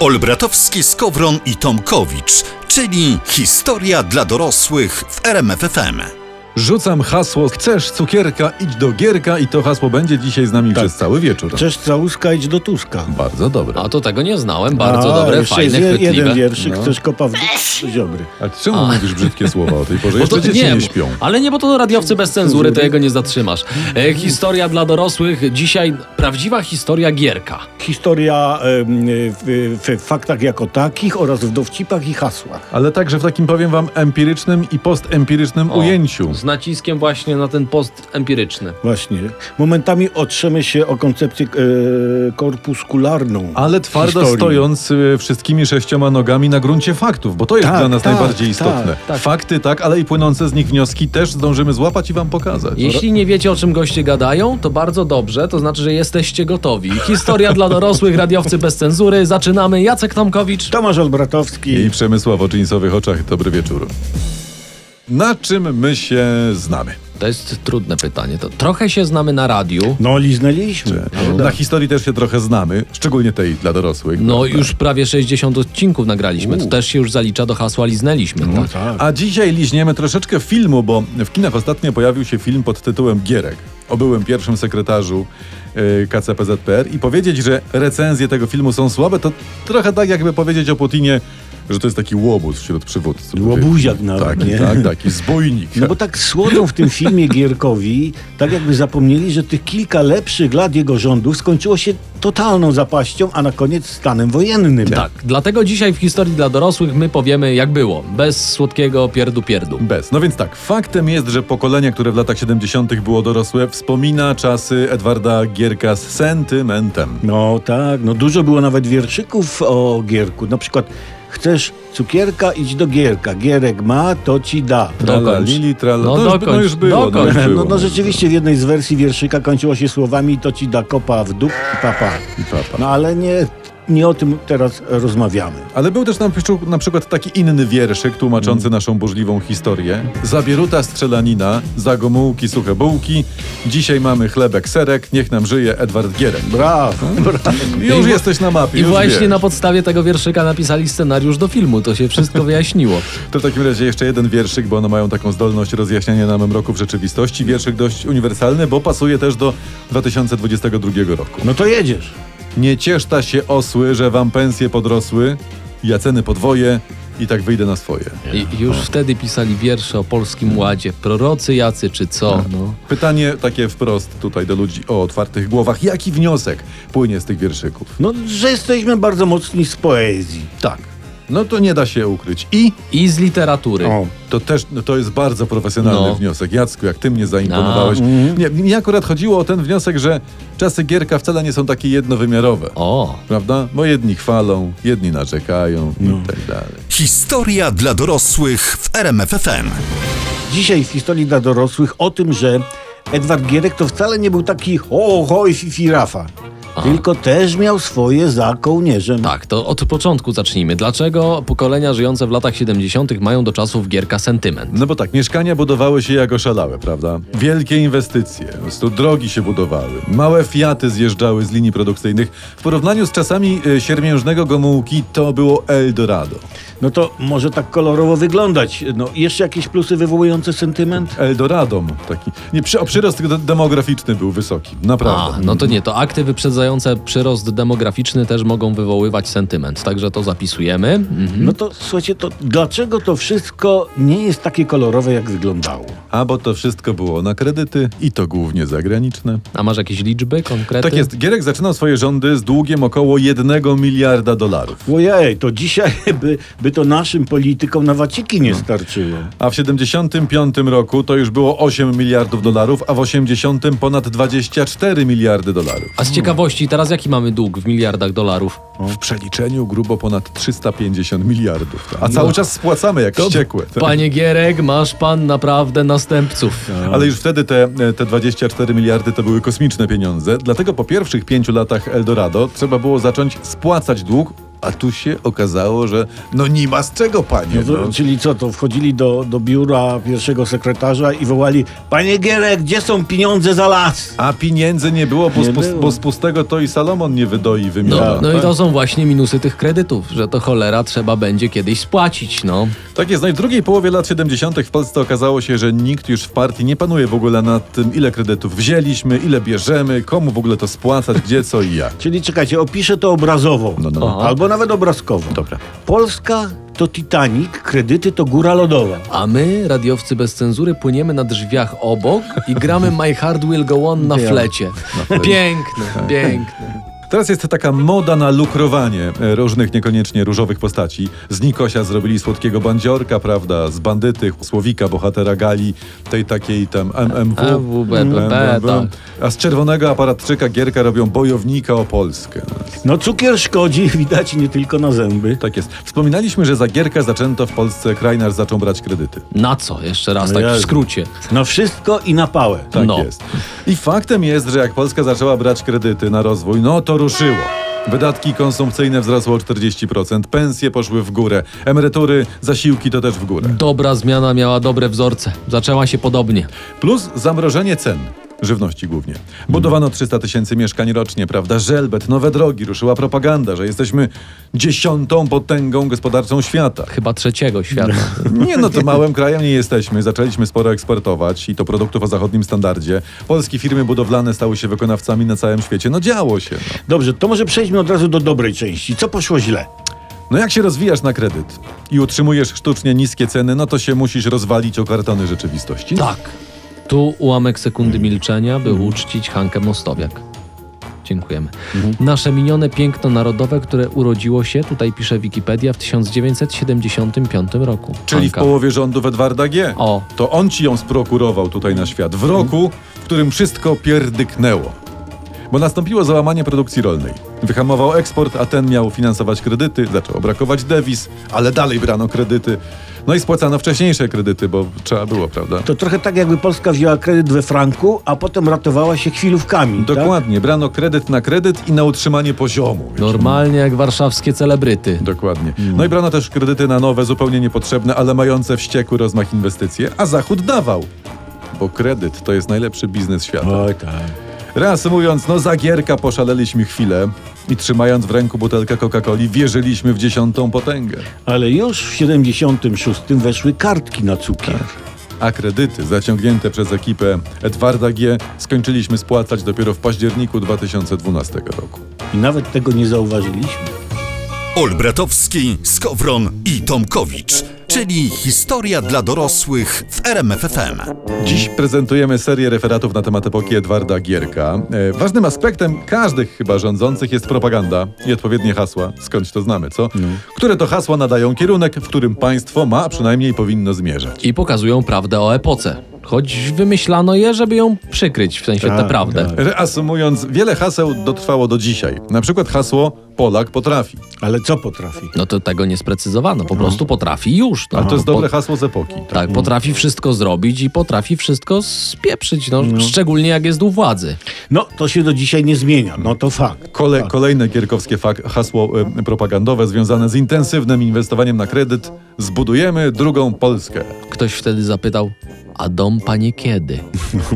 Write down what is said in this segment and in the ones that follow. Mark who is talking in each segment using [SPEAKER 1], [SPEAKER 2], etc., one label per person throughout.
[SPEAKER 1] Olbratowski, Skowron i Tomkowicz, czyli historia dla dorosłych w RMFFM.
[SPEAKER 2] Rzucam hasło, chcesz cukierka, idź do gierka i to hasło będzie dzisiaj z nami
[SPEAKER 3] Tak.
[SPEAKER 2] przez cały wieczór.
[SPEAKER 3] Chcesz całuska, idź do Tuska.
[SPEAKER 2] Bardzo dobre.
[SPEAKER 4] A to tego nie znałem, bardzo
[SPEAKER 3] A,
[SPEAKER 4] dobre,
[SPEAKER 3] jeszcze
[SPEAKER 4] fajne,
[SPEAKER 3] jest je-
[SPEAKER 4] chwytliwe.
[SPEAKER 3] jeden wierszyk,
[SPEAKER 2] No.
[SPEAKER 3] ktoś kopa w dół ziobry.
[SPEAKER 2] A czemu mówisz brzydkie słowa o tej porze? Jeszcze
[SPEAKER 4] Bo to-
[SPEAKER 2] dzieci nie,
[SPEAKER 4] bo-
[SPEAKER 2] śpią.
[SPEAKER 4] Ale nie, bo to radiowcy bez cenzury, to jego nie zatrzymasz. E, historia dla dorosłych, dzisiaj prawdziwa historia Gierka.
[SPEAKER 3] Historia em, e, w, w faktach jako takich oraz w dowcipach i hasłach.
[SPEAKER 2] Ale także w takim, powiem wam, empirycznym i postempirycznym
[SPEAKER 4] O,
[SPEAKER 2] ujęciu.
[SPEAKER 4] Z naciskiem właśnie na ten post empiryczny.
[SPEAKER 3] Właśnie. Momentami otrzemy się o koncepcję e, korpuskularną.
[SPEAKER 2] Ale twardo
[SPEAKER 3] historii.
[SPEAKER 2] stojąc y, wszystkimi sześcioma nogami na gruncie faktów, bo to jest
[SPEAKER 3] Tak,
[SPEAKER 2] dla nas
[SPEAKER 3] tak,
[SPEAKER 2] najbardziej
[SPEAKER 3] tak,
[SPEAKER 2] istotne.
[SPEAKER 4] tak.
[SPEAKER 2] Fakty tak, ale i płynące z nich wnioski też zdążymy złapać i wam pokazać.
[SPEAKER 4] Jeśli nie wiecie, o czym goście gadają, to bardzo dobrze, to znaczy, że jesteście gotowi. Historia dla dorosłych, radiowcy bez cenzury. Zaczynamy. Jacek Tomkowicz.
[SPEAKER 3] Tomasz Olbratowski.
[SPEAKER 2] I Przemysław o dżinsowych oczach. Dobry wieczór. Na czym my się znamy?
[SPEAKER 4] To jest trudne pytanie. To trochę się znamy na radiu.
[SPEAKER 3] No, liznęliśmy.
[SPEAKER 2] Na historii też się trochę znamy, szczególnie tej dla dorosłych.
[SPEAKER 4] No
[SPEAKER 2] prawda?
[SPEAKER 4] już prawie 60 odcinków nagraliśmy. To też się już zalicza do hasła liznęliśmy.
[SPEAKER 3] No,
[SPEAKER 4] Tak?
[SPEAKER 3] tak.
[SPEAKER 2] A dzisiaj liźniemy troszeczkę filmu, bo w kinach ostatnio pojawił się film pod tytułem Gierek o byłym pierwszym sekretarzu yy, KCPZPR i powiedzieć, że recenzje tego filmu są słabe, to trochę tak jakby powiedzieć o Putinie, że to jest taki łobuz wśród przywódców.
[SPEAKER 3] Łobuziak nawet,
[SPEAKER 2] Taki,
[SPEAKER 3] nie?
[SPEAKER 2] tak, taki zbójnik.
[SPEAKER 3] No bo tak słodzą w tym filmie Gierkowi, tak jakby zapomnieli, że tych kilka lepszych lat jego rządów skończyło się totalną zapaścią, a na koniec stanem wojennym.
[SPEAKER 4] Tak, dlatego dzisiaj w historii dla dorosłych my powiemy jak było, bez słodkiego pierdu pierdu.
[SPEAKER 2] Bez. No więc tak, faktem jest, że pokolenie, które w latach 70. było dorosłe, wspomina czasy Edwarda Gierka z sentymentem.
[SPEAKER 3] No tak, no dużo było nawet wierszyków o Gierku. Na przykład chcesz cukierka, idź do Gierka. Gierek ma, to ci da.
[SPEAKER 4] Dokończ.
[SPEAKER 2] Lili, trala. No,
[SPEAKER 4] No
[SPEAKER 2] no, już,
[SPEAKER 4] dokończ,
[SPEAKER 2] no już było. Tak No, już
[SPEAKER 4] dokończ.
[SPEAKER 2] było.
[SPEAKER 3] No, no rzeczywiście w jednej z wersji wierszyka kończyło się słowami to ci da kopa w dup i papa.
[SPEAKER 2] I papa.
[SPEAKER 3] No ale nie, nie o tym teraz rozmawiamy.
[SPEAKER 2] Ale był też na, przyczu- na przykład taki inny wierszyk tłumaczący naszą burzliwą historię. Zabieruta strzelanina, za gomułki suche bułki, dzisiaj mamy chlebek serek, niech nam żyje Edward Gierek.
[SPEAKER 3] Brawo, brawo.
[SPEAKER 2] Już
[SPEAKER 4] I-
[SPEAKER 2] jesteś na mapie,
[SPEAKER 4] I
[SPEAKER 2] już
[SPEAKER 4] właśnie
[SPEAKER 2] wiesz.
[SPEAKER 4] na podstawie tego wierszyka napisali scenariusz do filmu, to się wszystko wyjaśniło.
[SPEAKER 2] To w takim razie jeszcze jeden wierszyk, bo one mają taką zdolność rozjaśniania nam mroków rzeczywistości. Wierszyk dość uniwersalny, bo pasuje też do 2022 roku.
[SPEAKER 3] No to jedziesz.
[SPEAKER 2] Nie cieszta się osły, że wam pensje podrosły, ja ceny podwoję i tak wyjdę na swoje.
[SPEAKER 4] I już wtedy pisali wiersze o Polskim Ładzie, prorocy jacy czy co.
[SPEAKER 2] Tak,
[SPEAKER 4] No.
[SPEAKER 2] Pytanie takie wprost tutaj do ludzi o otwartych głowach. Jaki wniosek płynie z tych wierszyków?
[SPEAKER 3] No, że jesteśmy bardzo mocni z poezji.
[SPEAKER 2] Tak. No to nie da się ukryć. I
[SPEAKER 4] I z literatury.
[SPEAKER 2] to też, no to jest bardzo profesjonalny
[SPEAKER 4] No.
[SPEAKER 2] wniosek. Jacku, jak ty mnie zaimponowałeś. Nie, mnie akurat chodziło o ten wniosek, że czasy Gierka wcale nie są takie jednowymiarowe.
[SPEAKER 4] O,
[SPEAKER 2] Prawda? Bo jedni chwalą, jedni narzekają i tak dalej.
[SPEAKER 1] Historia dla dorosłych w RMFFM.
[SPEAKER 3] Dzisiaj w historii dla dorosłych o tym, że Edward Gierek to wcale nie był taki ho, ho i fi, fi rafa. Tylko też miał swoje za kołnierzem.
[SPEAKER 4] tak, to od początku zacznijmy. Dlaczego pokolenia żyjące w latach 70. mają do czasów Gierka sentyment?
[SPEAKER 2] No bo tak, mieszkania budowały się jak oszalałe, prawda? Wielkie inwestycje, po prostu drogi się budowały, małe fiaty zjeżdżały z linii produkcyjnych. W porównaniu z czasami y, siermiężnego Gomułki to było Eldorado.
[SPEAKER 3] No to może tak kolorowo wyglądać. No, jeszcze jakieś plusy wywołujące sentyment?
[SPEAKER 2] Eldoradom taki. Nie, przy, o, przyrost de- demograficzny był wysoki, naprawdę.
[SPEAKER 4] A, no to nie, to akty wyprzedzające przyrost demograficzny też mogą wywoływać sentyment, także to zapisujemy. Mhm.
[SPEAKER 3] No to słuchajcie, to dlaczego to wszystko nie jest takie kolorowe, jak wyglądało?
[SPEAKER 2] A bo to wszystko było na kredyty i to głównie zagraniczne.
[SPEAKER 4] A masz jakieś liczby konkretne?
[SPEAKER 2] Tak jest, Gierek zaczynał swoje rządy z długiem około 1 miliarda dolarów.
[SPEAKER 3] Ojej, to dzisiaj by, by to naszym politykom na waciki nie starczyło.
[SPEAKER 2] A w 75 roku to już było 8 miliardów dolarów, a w 80 ponad 24 miliardy dolarów.
[SPEAKER 4] A z ciekawości, teraz jaki mamy dług w miliardach dolarów?
[SPEAKER 2] W przeliczeniu grubo ponad 350 miliardów. tak? A cały czas spłacamy jak wściekłe. tak?
[SPEAKER 4] Panie Gierek, masz pan naprawdę następców.
[SPEAKER 2] Ale już wtedy te, te 24 miliardy to były kosmiczne pieniądze, dlatego po pierwszych pięciu latach Eldorado trzeba było zacząć spłacać dług a tu się okazało, że no nie ma z czego, panie.
[SPEAKER 3] No to,
[SPEAKER 2] no.
[SPEAKER 3] Czyli co, to wchodzili do, do biura pierwszego sekretarza i wołali Panie Gierek, gdzie są pieniądze za las?
[SPEAKER 2] A pieniędzy nie było, bo,
[SPEAKER 3] Nie
[SPEAKER 2] z, pus-
[SPEAKER 3] było.
[SPEAKER 2] bo z pustego to i Salomon nie wydoi
[SPEAKER 4] No,
[SPEAKER 2] wymiaru.
[SPEAKER 4] no i to są właśnie minusy tych kredytów, że to cholera trzeba będzie kiedyś spłacić, no.
[SPEAKER 2] Tak jest. No i w drugiej połowie lat 70. w Polsce okazało się, że nikt już w partii nie panuje w ogóle nad tym, ile kredytów wzięliśmy, ile bierzemy, komu w ogóle to spłacać, gdzie, co i jak.
[SPEAKER 3] Czyli czekajcie, opiszę to obrazowo.
[SPEAKER 2] No, no.
[SPEAKER 4] Aha.
[SPEAKER 3] Albo nawet obrazkowo.
[SPEAKER 2] Dobra.
[SPEAKER 3] Polska to Titanic, kredyty to góra lodowa.
[SPEAKER 4] A my, radiowcy bez cenzury, płyniemy na drzwiach obok i gramy My Heart Will Go On na
[SPEAKER 3] Ja.
[SPEAKER 4] flecie. Piękne, piękne.
[SPEAKER 2] Teraz jest taka moda na lukrowanie e, różnych niekoniecznie różowych postaci. Z Nikosia zrobili słodkiego bandziorka, prawda? Z bandytych, słowika, bohatera gali, tej takiej tam MMW.
[SPEAKER 4] AWB, BB, tak.
[SPEAKER 2] A z czerwonego aparatczyka Gierka robią bojownika o Polskę.
[SPEAKER 3] No cukier szkodzi, widać nie tylko na zęby.
[SPEAKER 2] Tak jest. Wspominaliśmy, że za Gierka zaczęto w Polsce, Krajnar zaczął brać kredyty.
[SPEAKER 4] Na co? Jeszcze raz,
[SPEAKER 3] No
[SPEAKER 4] tak w
[SPEAKER 3] Jezu.
[SPEAKER 4] skrócie.
[SPEAKER 3] Na wszystko i na pałę.
[SPEAKER 2] Tak
[SPEAKER 4] No.
[SPEAKER 2] jest. I faktem jest, że jak Polska zaczęła brać kredyty na rozwój, no to ruszyło. Wydatki konsumpcyjne wzrosły o 40%, pensje poszły w górę, emerytury, zasiłki to też w górę.
[SPEAKER 4] Dobra zmiana miała dobre wzorce. Zaczęła się podobnie.
[SPEAKER 2] Plus zamrożenie cen. Żywności głównie. Budowano 300 tysięcy mieszkań rocznie, prawda? Żelbet, nowe drogi, ruszyła propaganda, że jesteśmy dziesiątą potęgą gospodarczą świata.
[SPEAKER 4] Chyba trzeciego świata.
[SPEAKER 2] Nie, no to małym krajem nie jesteśmy. Zaczęliśmy sporo eksportować i to produktów o zachodnim standardzie. Polskie firmy budowlane stały się wykonawcami na całym świecie. No działo się. No,
[SPEAKER 3] Dobrze, to może przejdźmy od razu do dobrej części. Co poszło źle?
[SPEAKER 2] no jak się rozwijasz na kredyt i utrzymujesz sztucznie niskie ceny, no to się musisz rozwalić o kartony rzeczywistości.
[SPEAKER 4] Tak. Tu ułamek sekundy milczenia, by uczcić Hankę Mostowiak. Dziękujemy.
[SPEAKER 2] Mhm.
[SPEAKER 4] Nasze minione piękno narodowe, które urodziło się, tutaj pisze Wikipedia, w 1975 roku.
[SPEAKER 2] Czyli w
[SPEAKER 4] Hanka.
[SPEAKER 2] połowie rządów Edwarda G.
[SPEAKER 4] O.
[SPEAKER 2] To on ci ją sprokurował tutaj na świat. W roku, w którym wszystko pierdyknęło. Bo nastąpiło załamanie produkcji rolnej. Wyhamował eksport, a ten miał finansować kredyty, zaczęło brakować dewiz, ale dalej brano kredyty. No i spłacano wcześniejsze kredyty, bo trzeba było, prawda?
[SPEAKER 3] To trochę tak, jakby Polska wzięła kredyt we franku, a potem ratowała się chwilówkami. Tak?
[SPEAKER 2] Dokładnie, brano kredyt na kredyt i na utrzymanie poziomu.
[SPEAKER 4] No
[SPEAKER 2] wiesz.
[SPEAKER 4] Normalnie jak warszawskie celebryty.
[SPEAKER 2] Dokładnie. No i brano też kredyty na nowe, zupełnie niepotrzebne, ale mające wściekły rozmach inwestycje, a Zachód dawał. Bo kredyt to jest najlepszy biznes świata.
[SPEAKER 3] Oj, tak.
[SPEAKER 2] Reasumując, no za Gierka poszaleliśmy chwilę i trzymając w ręku butelkę Coca-Coli wierzyliśmy w dziesiątą potęgę.
[SPEAKER 3] Ale już w 76 weszły kartki na cukier.
[SPEAKER 2] A kredyty zaciągnięte przez ekipę Edwarda G. skończyliśmy spłacać dopiero w październiku 2012 roku.
[SPEAKER 3] I nawet tego nie zauważyliśmy.
[SPEAKER 1] Olbratowski, Skowron i Tomkowicz, czyli historia dla dorosłych w RMFFM.
[SPEAKER 2] Dziś prezentujemy serię referatów na temat epoki Edwarda Gierka. E, ważnym aspektem każdych chyba rządzących jest propaganda i odpowiednie hasła, skądś to znamy, co?
[SPEAKER 4] No.
[SPEAKER 2] Które to hasła nadają kierunek, w którym państwo ma, a przynajmniej powinno zmierzać.
[SPEAKER 4] I pokazują prawdę o epoce. Choć wymyślano je, żeby ją przykryć, w sensie tę
[SPEAKER 3] Tak,
[SPEAKER 4] prawdę.
[SPEAKER 3] tak.
[SPEAKER 2] Reasumując, wiele haseł dotrwało do dzisiaj. Na przykład hasło Polak potrafi.
[SPEAKER 3] Ale co potrafi?
[SPEAKER 4] No to tego nie sprecyzowano, po prostu potrafi już. No.
[SPEAKER 2] No. A to jest dobre
[SPEAKER 4] Po-
[SPEAKER 2] hasło z epoki.
[SPEAKER 4] Tak, potrafi wszystko zrobić i potrafi wszystko spieprzyć, no, szczególnie jak jest u władzy.
[SPEAKER 3] No, to się do dzisiaj nie zmienia. No to fakt.
[SPEAKER 2] Kole,
[SPEAKER 4] Tak.
[SPEAKER 2] kolejne gierkowskie fak, hasło em, propagandowe związane z intensywnym inwestowaniem na kredyt. Zbudujemy drugą Polskę.
[SPEAKER 4] Ktoś wtedy zapytał, a dom panie kiedy?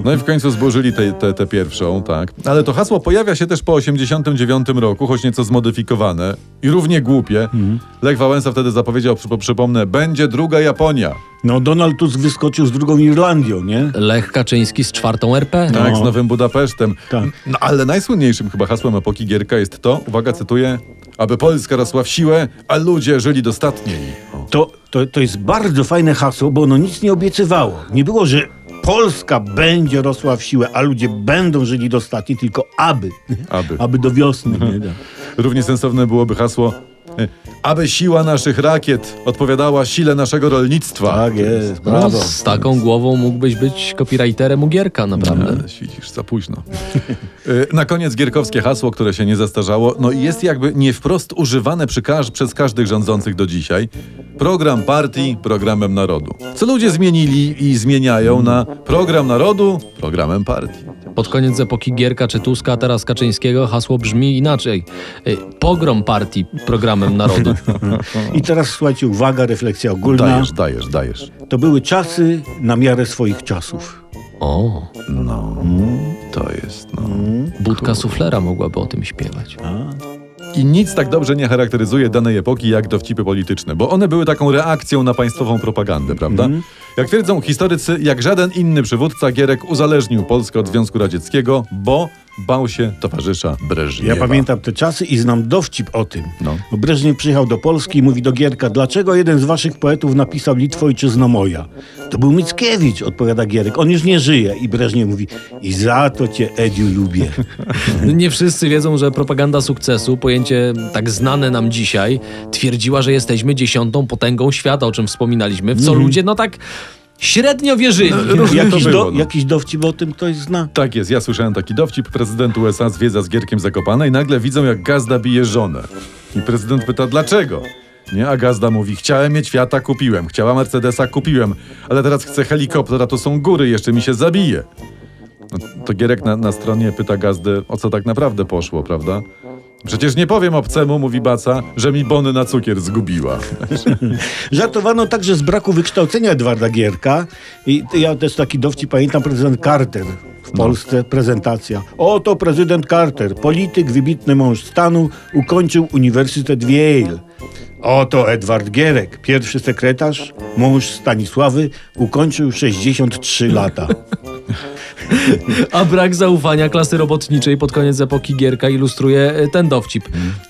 [SPEAKER 2] No i w końcu zburzyli tę te, te pierwszą, tak. Ale to hasło pojawia się też po 89 roku, choć nieco zmodyfikowane i równie głupie.
[SPEAKER 3] Mhm.
[SPEAKER 2] Lech Wałęsa wtedy zapowiedział, przypo- przypomnę, będzie druga Japonia.
[SPEAKER 3] No, Donald Tusk wyskoczył z drugą Irlandią, nie?
[SPEAKER 4] Lech Kaczyński z czwartą RP?
[SPEAKER 2] Tak,
[SPEAKER 3] No.
[SPEAKER 2] z Nowym Budapesztem.
[SPEAKER 3] Tak.
[SPEAKER 2] No, ale najsłynniejszym chyba hasłem epoki Gierka jest to, uwaga, cytuję, aby Polska rosła w siłę, a ludzie żyli dostatniej. O.
[SPEAKER 3] To, to, to jest bardzo fajne hasło, bo ono nic nie obiecywało. Nie było, że Polska będzie rosła w siłę, a ludzie będą żyli do stati, tylko aby.
[SPEAKER 2] Aby. Mhm.
[SPEAKER 3] Aby do wiosny, nie?
[SPEAKER 2] Równie sensowne byłoby hasło, e, aby siła naszych rakiet odpowiadała sile naszego rolnictwa.
[SPEAKER 3] Tak jest,
[SPEAKER 4] No,
[SPEAKER 3] brawo.
[SPEAKER 4] z taką głową mógłbyś być copywriterem u Gierka, naprawdę.
[SPEAKER 2] Ale świecisz za późno. E, Na koniec gierkowskie hasło, które się nie zastarzało, no i jest jakby nie wprost używane przy każ- przez każdych rządzących do dzisiaj. Program partii programem narodu. Co ludzie zmienili i zmieniają na program narodu programem partii.
[SPEAKER 4] Pod koniec epoki Gierka czy Tuska, a teraz Kaczyńskiego hasło brzmi inaczej. Y, Pogrom partii programem narodu.
[SPEAKER 3] I teraz słuchajcie, uwaga, refleksja ogólna.
[SPEAKER 2] Dajesz, dajesz, dajesz.
[SPEAKER 3] To były czasy na miarę swoich czasów.
[SPEAKER 4] O,
[SPEAKER 2] No, to jest, no.
[SPEAKER 4] budka suflera mogłaby o tym śpiewać.
[SPEAKER 2] I nic tak dobrze nie charakteryzuje danej epoki jak dowcipy polityczne, bo one były taką reakcją na państwową propagandę, prawda?
[SPEAKER 3] Mhm.
[SPEAKER 2] Jak twierdzą historycy, jak żaden inny przywódca Gierek uzależnił Polskę od Związku Radzieckiego, bo bał się towarzysza Breżniewa.
[SPEAKER 3] Ja pamiętam te czasy i znam dowcip o tym.
[SPEAKER 2] No.
[SPEAKER 3] Bo Breżniew przyjechał do Polski i mówi do Gierka, dlaczego jeden z waszych poetów napisał Litwo ojczyzno moja? To był Mickiewicz, odpowiada Gierek. On już nie żyje. I Breżniew mówi, i za to cię, Ediu, lubię.
[SPEAKER 4] Nie wszyscy wiedzą, że propaganda sukcesu, pojęcie tak znane nam dzisiaj, twierdziła, że jesteśmy dziesiątą potęgą świata, o czym wspominaliśmy, w co ludzie no tak średnio wierzyli.
[SPEAKER 3] jakiś,
[SPEAKER 2] było,
[SPEAKER 3] do,
[SPEAKER 2] no.
[SPEAKER 3] jakiś dowcip o tym ktoś zna?
[SPEAKER 2] Tak jest, ja słyszałem taki dowcip. Prezydent USA zwiedza z Gierkiem Zakopane i nagle widzą, jak Gazda bije żonę. I prezydent pyta, dlaczego? Nie, a Gazda mówi, chciałem mieć Fiata, kupiłem. Chciała Mercedesa, kupiłem. Ale teraz chcę helikoptera, to są góry, jeszcze mi się zabije. No, to Gierek na, na stronie pyta Gazdy, o co tak naprawdę poszło, prawda? Przecież nie powiem obcemu, mówi Baca, że mi bony na cukier zgubiła.
[SPEAKER 3] Żartowano także z braku wykształcenia Edwarda Gierka. I t- ja też taki dowcip pamiętam, prezydent Carter w
[SPEAKER 2] No.
[SPEAKER 3] Polsce, prezentacja. Oto prezydent Carter, polityk, wybitny mąż stanu, ukończył Uniwersytet w Yale. Oto Edward Gierek, pierwszy sekretarz, mąż Stanisławy, ukończył 63 lata.
[SPEAKER 4] A brak zaufania klasy robotniczej pod koniec epoki Gierka ilustruje y, ten dowcip.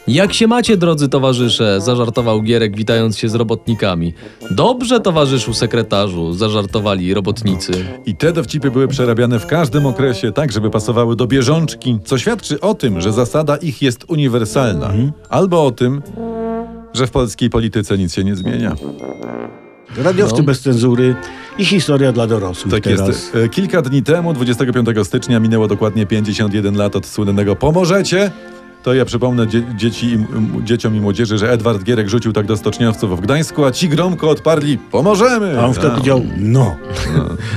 [SPEAKER 4] Jak się macie, drodzy towarzysze? Zażartował Gierek, witając się z robotnikami. Dobrze, towarzyszu sekretarzu, zażartowali robotnicy.
[SPEAKER 2] I te dowcipy były przerabiane w każdym okresie, tak żeby pasowały do bieżączki, co świadczy o tym, że zasada ich jest uniwersalna.
[SPEAKER 3] Mhm.
[SPEAKER 2] Albo o tym, że w polskiej polityce nic się nie zmienia.
[SPEAKER 3] Radiowcy bez cenzury i historia dla dorosłych
[SPEAKER 2] No. Tak
[SPEAKER 3] teraz.
[SPEAKER 2] jest. E, Kilka dni temu, 25 stycznia, minęło dokładnie 51 lat od słynnego Pomożecie. To ja przypomnę dzie- dzieci i, m- dzieciom i młodzieży, że Edward Gierek rzucił tak do stoczniowców w Gdańsku, a ci gromko odparli Pomożemy!
[SPEAKER 3] A on wtedy powiedział, no.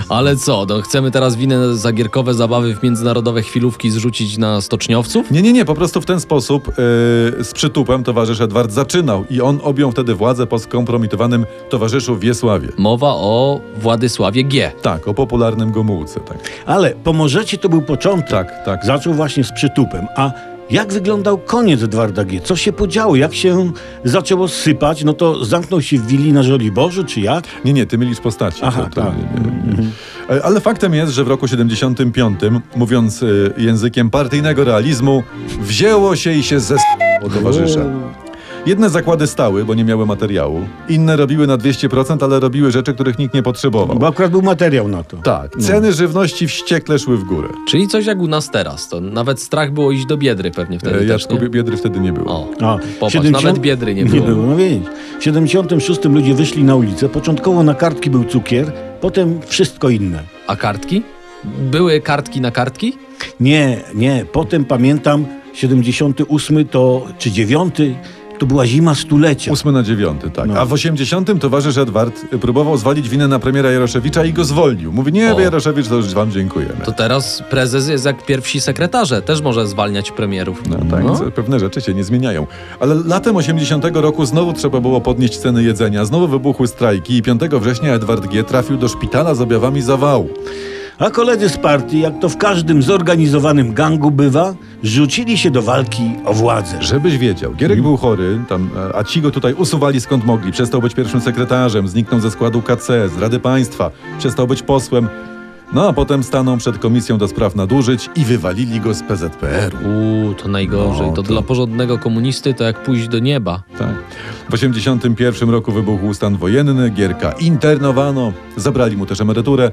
[SPEAKER 4] Ale co, no chcemy teraz winę za gierkowe zabawy w międzynarodowe chwilówki zrzucić na stoczniowców?
[SPEAKER 2] Nie, nie, nie, po prostu w ten sposób yy, z przytupem towarzysz Edward zaczynał i on objął wtedy władzę po skompromitowanym towarzyszu Wiesławie.
[SPEAKER 4] Mowa o Władysławie G.
[SPEAKER 2] Tak, o popularnym Gomułce, tak.
[SPEAKER 3] Ale pomożecie to był początek.
[SPEAKER 2] Tak, tak.
[SPEAKER 3] Zaczął właśnie z przytupem. A jak wyglądał koniec Edwarda G? Co się podziało? Jak się zaczęło sypać? No to zamknął się w willi na Żoliborzu, czy jak?
[SPEAKER 2] Nie, nie, ty mylisz postaci.
[SPEAKER 3] Aha, tak.
[SPEAKER 2] nie, nie, nie. E, Ale faktem jest, że w roku 75, mówiąc y, językiem partyjnego realizmu, wzięło się i się zes... towarzysza. Jedne zakłady stały, bo nie miały materiału. Inne robiły na 200%, ale robiły rzeczy, których nikt nie potrzebował.
[SPEAKER 3] Bo akurat był materiał na to.
[SPEAKER 2] Tak, ceny żywności wściekle szły w górę.
[SPEAKER 4] Czyli coś jak u nas teraz. To nawet strach było iść do Biedry pewnie wtedy
[SPEAKER 2] E,
[SPEAKER 4] też,
[SPEAKER 2] Jaczku
[SPEAKER 4] nie?
[SPEAKER 2] Biedry wtedy nie było.
[SPEAKER 4] O,
[SPEAKER 3] A,
[SPEAKER 4] popatrz, nawet Biedry nie
[SPEAKER 3] Nie
[SPEAKER 4] było.
[SPEAKER 3] było, no widzisz. W 76 ludzie wyszli na ulicę. Początkowo na kartki był cukier, potem wszystko inne.
[SPEAKER 4] A kartki? Były kartki na kartki?
[SPEAKER 3] Nie, nie. Potem pamiętam 78 to, czy 9, to była zima stulecia.
[SPEAKER 2] 8 na 9, tak.
[SPEAKER 3] No.
[SPEAKER 2] A w 80 towarzysz Edward y, próbował zwalić winę na premiera Jaroszewicza i go zwolnił. Mówi, nie,
[SPEAKER 4] O.
[SPEAKER 2] Jaroszewicz, to już wam dziękujemy.
[SPEAKER 4] To teraz prezes jest jak pierwsi sekretarze, też może zwalniać premierów.
[SPEAKER 2] No, tak,
[SPEAKER 4] No.
[SPEAKER 2] co- pewne rzeczy się nie zmieniają. Ale latem 80 roku znowu trzeba było podnieść ceny jedzenia, znowu wybuchły strajki i 5 września Edward G. trafił do szpitala z objawami zawału.
[SPEAKER 3] A koledzy z partii, jak to w każdym zorganizowanym gangu bywa, rzucili się do walki o władzę.
[SPEAKER 2] Żebyś wiedział, Gierek był chory, tam, e, a ci go tutaj usuwali skąd mogli. Przestał być pierwszym sekretarzem, zniknął ze składu KC, z Rady Państwa, przestał być posłem. No a potem stanął przed komisją do spraw nadużyć i wywalili go z PZPR-u.
[SPEAKER 4] Uuu, to najgorzej.
[SPEAKER 2] No,
[SPEAKER 4] to,
[SPEAKER 2] to-
[SPEAKER 4] dla porządnego komunisty to jak pójść do nieba.
[SPEAKER 2] Tak. W 81 roku wybuchł stan wojenny, Gierka internowano, zabrali mu też emeryturę.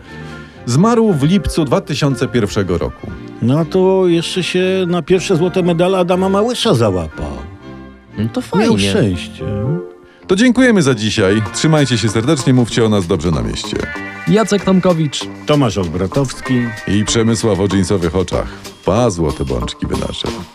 [SPEAKER 2] Zmarł w lipcu 2001 roku.
[SPEAKER 3] No to jeszcze się na pierwsze złote medale Adama Małysza załapał.
[SPEAKER 4] No to
[SPEAKER 3] Miał
[SPEAKER 4] fajnie.
[SPEAKER 3] szczęście.
[SPEAKER 2] To dziękujemy za dzisiaj. Trzymajcie się serdecznie, mówcie o nas dobrze na mieście.
[SPEAKER 4] Jacek Tomkowicz.
[SPEAKER 3] Tomasz Olbratowski.
[SPEAKER 2] I Przemysław o dżinsowych oczach. Pa, złote bączki by nasze.